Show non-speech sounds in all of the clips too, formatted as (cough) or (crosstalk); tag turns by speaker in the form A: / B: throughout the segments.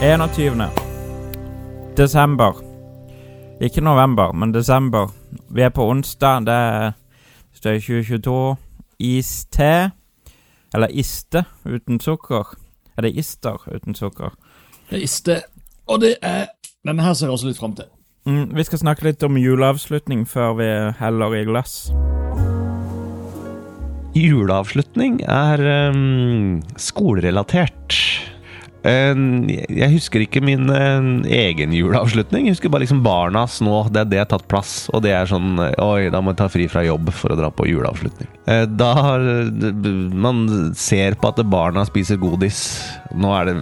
A: 21. desember. Ikke november, men desember. Vi er på onsdag. Det er det er 2022. Iste. Eller iste uten sukker. Er det ister uten sukker?
B: Det er iste. Og det er Denne her ser jeg også litt fram til.
A: Mm, vi skal snakke litt om juleavslutning før vi heller i glass.
C: Juleavslutning er ehm, skolerelatert. En- jeg husker ikke min eh, egen juleavslutning. Jeg husker bare liksom barnas nå. Det er det jeg har tatt plass. Og det er sånn eh, Oi, da må jeg ta fri fra jobb for å dra på juleavslutning. Eh, Da har eh, d- man ser på at barna spiser godis. Nå er det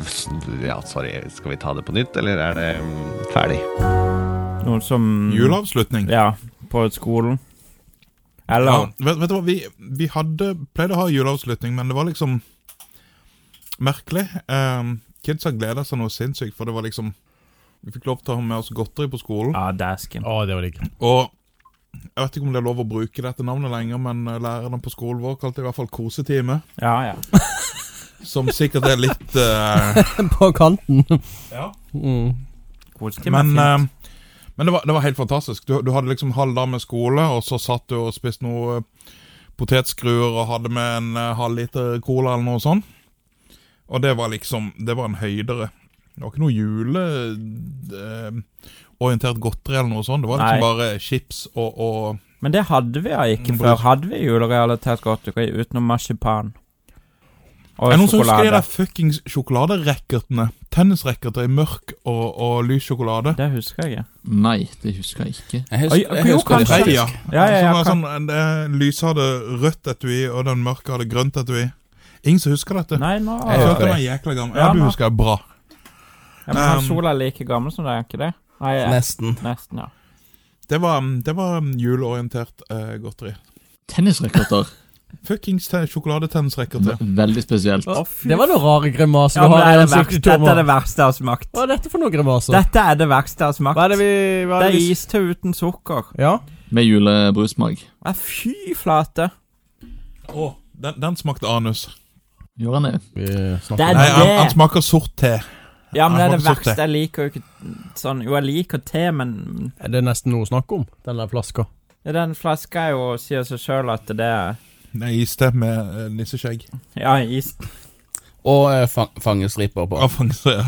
C: Ja, sorry, skal vi ta det på nytt, eller er det mm, ferdig?
A: Noe som Mm.
D: Juleavslutning.
A: Ja, på skolen. Eller
D: Ja, vet, vet du hva, vi, vi hadde, pleide å ha juleavslutning, men det var liksom merkelig. Um, Kidsa gleda seg noe sinnssykt, for det var liksom Vi fikk lov til å ha med oss godteri på skolen.
A: Ja, dæsken.
E: Å, det var digg.
D: Og jeg vet ikke om det er lov å bruke dette navnet lenger, men eh, lærerne på skolen vår kalte det i hvert fall kosetime.
A: Ja, ja.
D: Som sikkert er litt eh,
F: På kanten.
D: ja.
F: Mm.
A: Kosetime er
D: Men,
A: fint.
D: eh, men det, var, det var helt fantastisk. Du, du hadde liksom halv dag med skole, og så satt du og spiste noe eh, potetskruer og hadde med en eh, halv liter cola eller noe sånt. Og det var liksom Det var en høydere. Det var ikke noe juleorientert godteri eller noe sånt. Det var
A: Nei.
D: liksom bare chips og, og
A: Men det hadde vi ja ikke
D: Mm,
A: før.
D: brus.
A: Hadde vi julerealitet godteri utenom marsipan? Og
D: Er det noen som husker de
A: sjokolade.
D: der fuckings sjokoladerekkertene? Tennisrekkerter i mørk og, og lys sjokolade.
A: Det husker jeg.
B: Nei, det husker jeg ikke.
E: Jeg
A: Oi, jo, kanskje.
E: faktisk.
D: Freia.
A: Ja, ja, ja,
D: som var
A: kan-
D: sånn, eh, det lyse hadde rødt etui, og den mørke hadde grønt etui. Ingen som husker dette.
A: Nei, nå
D: sånn- Jeg
A: ja,
D: følte meg jækla gammel. Ja,
A: Ja,
D: du
A: nå.
D: husker det bra.
A: men han
D: um,
A: Sola er like gammel som deg, er ikke det? Nei, ja.
F: Nesten.
A: nesten, ja.
D: Det var, mm, det var juleorientert eh, godteri.
B: Tennisraketter.
D: Fuckings te- sjokoladetennisrekkerter.
B: Veldig spesielt.
F: Det var noen rare grimaser
A: ja
F: du
A: men det
F: har i
A: er det verste,
F: ansiktet,
A: dette er det
F: Tommer.
A: verste jeg har smakt.
F: Hva er dette for noen grimaser?
A: Dette er det verste jeg har smakt.
F: Hva er det vi hva
A: Det
F: er
A: er
F: det vi-
A: iste uten sukker.
F: Ja.
B: Med julebrusmak.
A: Ja, fy flate.
D: Å, Den, den smakte anus.
B: Gjorde han det?
A: Det er
D: Nei,
A: det.
D: han, han smaker sort te.
A: Ja, men det er det
D: Jeg har ikke sett
A: verste.
D: det.
A: Jeg liker jo ikke sånn Jo, jeg liker te, men
F: Er det nesten noe å snakke om, den der flaska?
A: den flaska er jo sier seg sjøl at det er
D: Nei, iste med eh, nisseskjegg.
A: Ja, is
E: Og eh, fa fangestriper på.
D: Av fangst- (laughs) ja.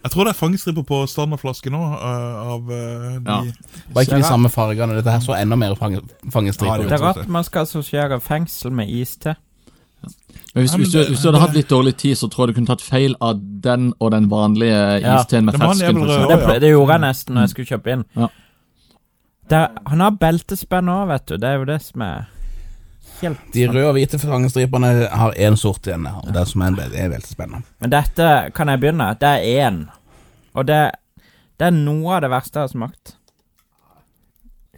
D: Jeg tror det er fangstriper på standardflaske nå. eh, av eh, de
E: Ja. Var ikke de samme fargene. Dette her så enda mer fange
D: Ja,
E: fangestriper
A: Det
E: ut.
D: det
A: er rart man skal assosiere fengsel med iste.
B: Men hvis,
D: Ja, men
B: hvis, du,
D: det-
B: hvis du hadde hatt litt dårlig tid, så tror jeg du kunne tatt feil av den og den vanlige
A: Ja,
B: isteen med
D: den vanlige
B: fersken.
D: er vel
B: for
D: rød.
B: eksempel.
A: Det, ple- det gjorde jeg nesten når jeg skulle kjøpe inn.
B: Ja.
A: Det, han har beltespenn òg, vet du. Det er jo det som er helt
E: De røde og hvite fangestripene har én sort igjen. Og det som er, det er veldig spennende.
A: Men dette kan jeg begynne. Det er én. Og det, det er noe av det verste jeg har smakt.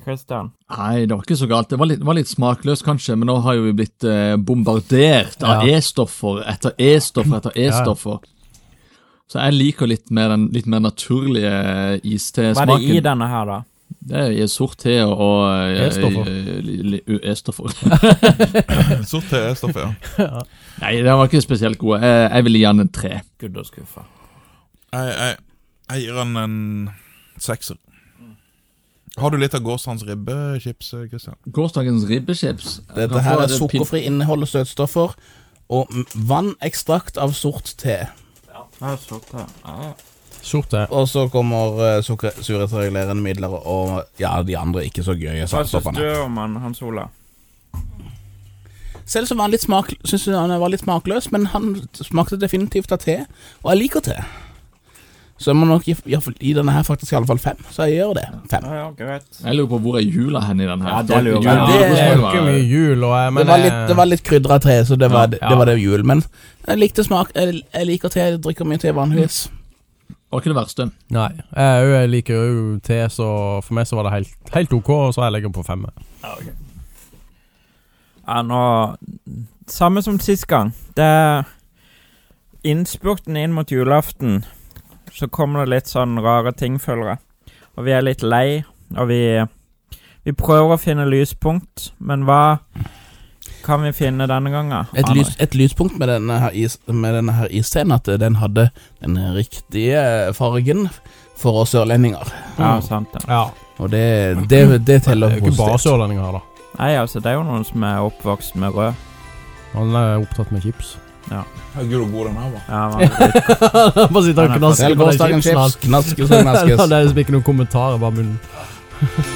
A: Christian.
B: Nei, det var ikke så galt. Det var litt, det var litt smakløst, kanskje, men nå har jo vi blitt eh, bombardert av E-stoffer etter E-stoffer etter E-stoffer. Så jeg liker litt mer den litt mer naturlige
A: Hva er det i
B: iste-smaken.
A: denne her, da?
B: Det er sort te og eh,
F: E-stoffer.
B: eh, li- li- E-stoffer.
D: Sort te er stoffet, ja.
B: Nei, den var ikke spesielt god. Jeg, jeg ville gi den en tre.
A: Gud og skuffa.
D: Jeg, jeg, jeg gir han en sekser. Har du litt av gårsdagens ribbechips, Kristian?
B: Gårsdagens ribbechips.
E: Dette her er sukkerfri innhold og søtstoffer. Og mm, vannekstrakt av sort te.
F: Sort er
E: Og så kommer eh, sukker- surhetsregulerende midler og ja, de andre ikke så gøye
A: Hva syns du
E: saltstoffene.
A: om han, Hans Ola?
E: Selv så var han litt smak, synes jeg han var litt smakløs, men han smakte definitivt av te, og jeg liker te. Så jeg må nok gi, i hvert fall gi denne her faktisk i alle fall fem, så jeg gjør det. Fem.
A: Ja, ja, greit.
B: Jeg lurer på hvor er jula hen i den her.
A: Ja, det lurer jeg
B: Jula-
A: på.
E: Det er
F: Det er jo
B: jula-
F: ikke mye jul, og eh, jeg, men
E: det var litt, det var litt krydra te, så det var,
F: Ja.
E: det var det jul, men jeg likte smak, jeg, jeg liker te, jeg drikker mye te vanligvis.
F: Mm.
B: var ikke det verste.
F: Nei. Jeg, er jo- jeg liker jo te, så for meg så var det helt, helt ok, og så jeg legger den på fem.
A: Ja, nå Samme som sist gang. Det er innspurten inn mot julaften. Så kommer det litt sånn rare ting, føler jeg. Og vi er litt lei, og vi Vi prøver å finne lyspunkt, men hva kan vi finne denne gangen?
E: Et, lys, et lyspunkt med denne her, is, med denne her isteen at eh, den hadde den riktige fargen for oss sørlendinger.
A: Ja, sant det.
F: Ja.
E: Og det, det, det
F: Det
E: teller
F: er jo ikke bare
E: positivt.
F: sørlendinger her, da.
A: Nei, altså, det er jo noen som er oppvokst med rød.
F: Han er opptatt med chips.
D: Herregud, hvor god den her var.
A: Ja,
F: (laughs)
A: man,
F: Bare sitter
A: Nei, nei,
F: og knasker på de
E: Velgårsdagen
F: chipsene. (laughs)
E: chips, knask og så
F: han.
E: knaskes.
F: Det er liksom ikke noen kommentarer, bare munnen.